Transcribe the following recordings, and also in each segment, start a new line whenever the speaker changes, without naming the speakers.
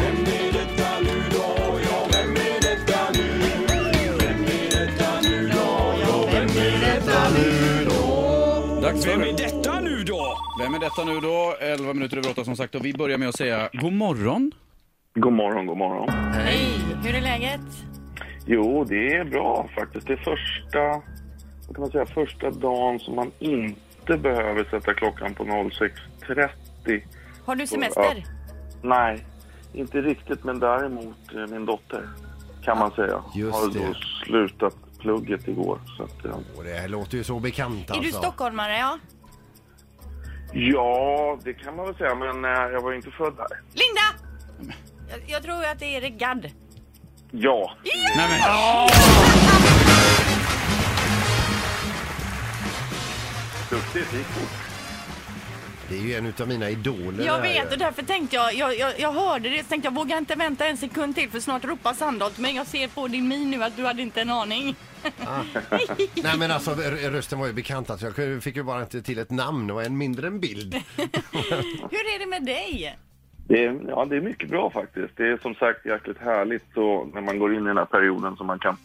Vem är detta nu då? Ja, vem är detta nu? Vem är detta nu då? Ja, vem är detta nu då?
Dags
Vem är
för...
detta nu då?
Vem är detta nu då? 11 minuter över 8 som sagt och vi börjar med att säga god morgon.
God morgon, god morgon.
Hej! Hur är läget?
Jo, det är bra faktiskt. Det är första, vad kan man säga, första dagen som man inte behöver sätta klockan på 06.30.
Har du semester?
Nej, inte riktigt, men däremot eh, min dotter kan man säga.
Just
har
det.
då slutat plugget igår. Så att, eh,
Och det här låter ju så bekant alltså.
Är du stockholmare? Ja.
ja, det kan man väl säga, men eh, jag var ju inte född där.
Linda! Jag, jag tror att det är Erik Gadd.
Ja,
Nej, men...
duktigt. Det gick fort.
Det är ju en utav mina idoler.
Jag
det här
vet
ju.
och därför tänkte jag, jag, jag, jag hörde det, så tänkte jag vågar inte vänta en sekund till för snart ropar Sandholt men jag ser på din min nu att du hade inte en aning.
Nej men alltså r- rösten var ju bekant alltså. Jag kunde- fick ju bara inte till ett namn och än mindre en bild.
Hur är det med dig?
Det är, ja, det är mycket bra faktiskt. Det är som sagt jäkligt härligt så när man går in i den här perioden så man kan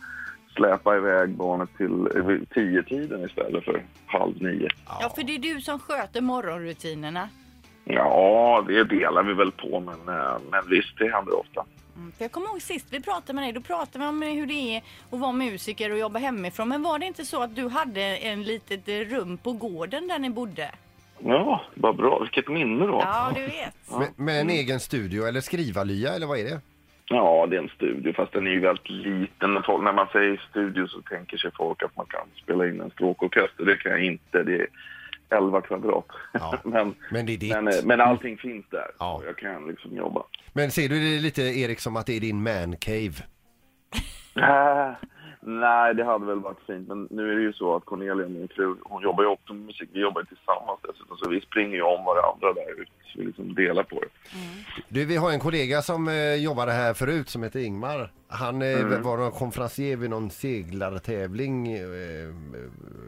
släpa iväg barnet till eh, vid tio-tiden istället för halv nio.
Ja. för det är du som sköter morgonrutinerna.
Ja, det delar vi väl på, men, eh, men visst, det händer ofta.
Mm, För jag kommer ihåg sist vi pratade med dig, då pratade vi om hur det är att vara musiker och jobba hemifrån. Men var det inte så att du hade en litet eh, rum på gården där ni bodde?
Ja, vad bra. Vilket minne då.
Ja, du vet.
Med, med en egen studio eller skrivarlya eller vad är det?
Ja, det är en studio, fast den är ju väldigt liten. Folk- När man säger studio så tänker sig folk att man kan spela in en stråkorkester. Det kan jag inte. Det är 11 kvadrat.
Ja,
men,
men det är ditt.
men, eh, men allting finns där.
Ja.
Jag kan liksom jobba.
Men ser du det lite Erik som att det är din man cave?
Äh, Nej, det hade väl varit fint. Men nu är det ju så att Cornelia, min fru, hon jobbar ju också med musik. Vi jobbar ju tillsammans dessutom, så vi springer ju om varandra där ute. Så vi liksom delar på det.
Du, vi har en kollega som eh, jobbade här förut som heter Ingmar. Han eh, var någon konferencier vid någon seglartävling eh,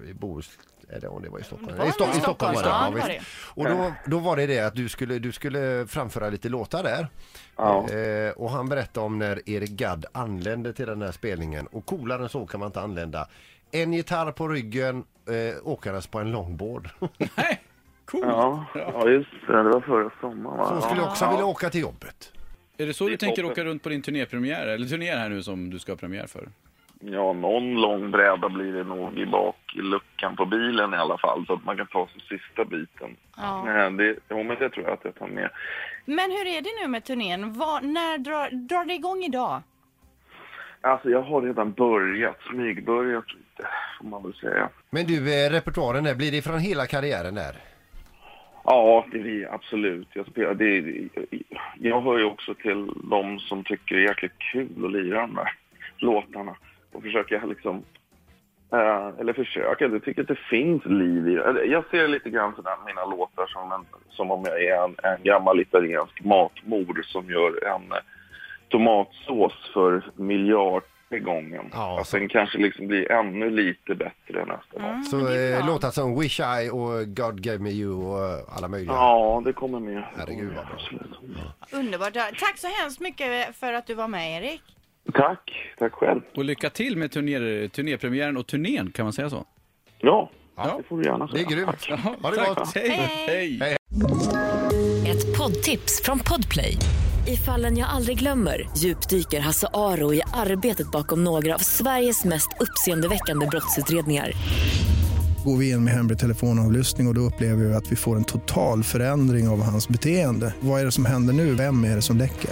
i Bohus... Eller om det var i Stockholm.
Det var
I, Sto-
nog
I Stockholm var det.
Stockholm, ja, det
visst. Och då, då var det det att du skulle, du skulle framföra lite låtar där.
Ja.
Eh, och han berättade om när Erik Gadd anlände till den här spelningen. Och coolare än så kan man inte anlända. En gitarr på ryggen eh, åkandes på en longboard.
Nej, cool.
Ja, ja just det. Det var förra sommaren, va?
Så skulle jag också
ja.
vilja åka till jobbet.
Är det så
Det
du
är
tänker
toppen.
åka runt på din turnépremiär? Eller turné här nu som du ska ha premiär för?
Ja, någon lång bräda blir det nog i bak i luckan på bilen i alla fall. Så att man kan ta sig sista biten.
Ja.
Nej, det, jo, men det tror jag att jag tar med.
Men hur är det nu med turnén? Vad- när drar, drar det igång idag?
Alltså, jag har redan börjat. Smygbörjat lite, får man väl säga.
Men du, eh, repertoaren där, blir det från hela karriären där?
Ja, det är absolut. Jag, spelar, det är, jag hör ju också till de som tycker det är jäkligt kul att lira de där låtarna. Och försöker liksom... Eh, eller försöka, jag tycker att det finns liv i eller Jag ser lite grann sådär mina låtar som, en, som om jag är en, en gammal italiensk matmor som gör en eh, tomatsås för miljard gången.
Ja,
att
så-
den kanske liksom blir ännu lite bättre nästa gång.
men
Så
Mm, det är
eh,
bra.
låtar som Wish I och God Gave Me You och eh, alla möjliga.
Ja, det kommer med.
Herregud, vad bra.
Absolut.
Underbart. Tack så hemskt mycket för att du var med Erik.
Tack, tack själv.
Och lycka till med turné, turnépremiären och turnén, kan man säga så?
Ja,
Ja.
det får du gärna
Det är
säga.
grymt. Ha det
Tack.
gott.
Hej.
Hej.
Hej.
Ett poddtips från Podplay. I fallen jag aldrig glömmer djupdyker Hasse Aro i arbetet bakom några av Sveriges mest uppseendeväckande brottsutredningar.
Går vi in med hemlig telefonavlyssning och, och då upplever vi att vi får en total förändring av hans beteende. Vad är det som händer nu? Vem är det som läcker?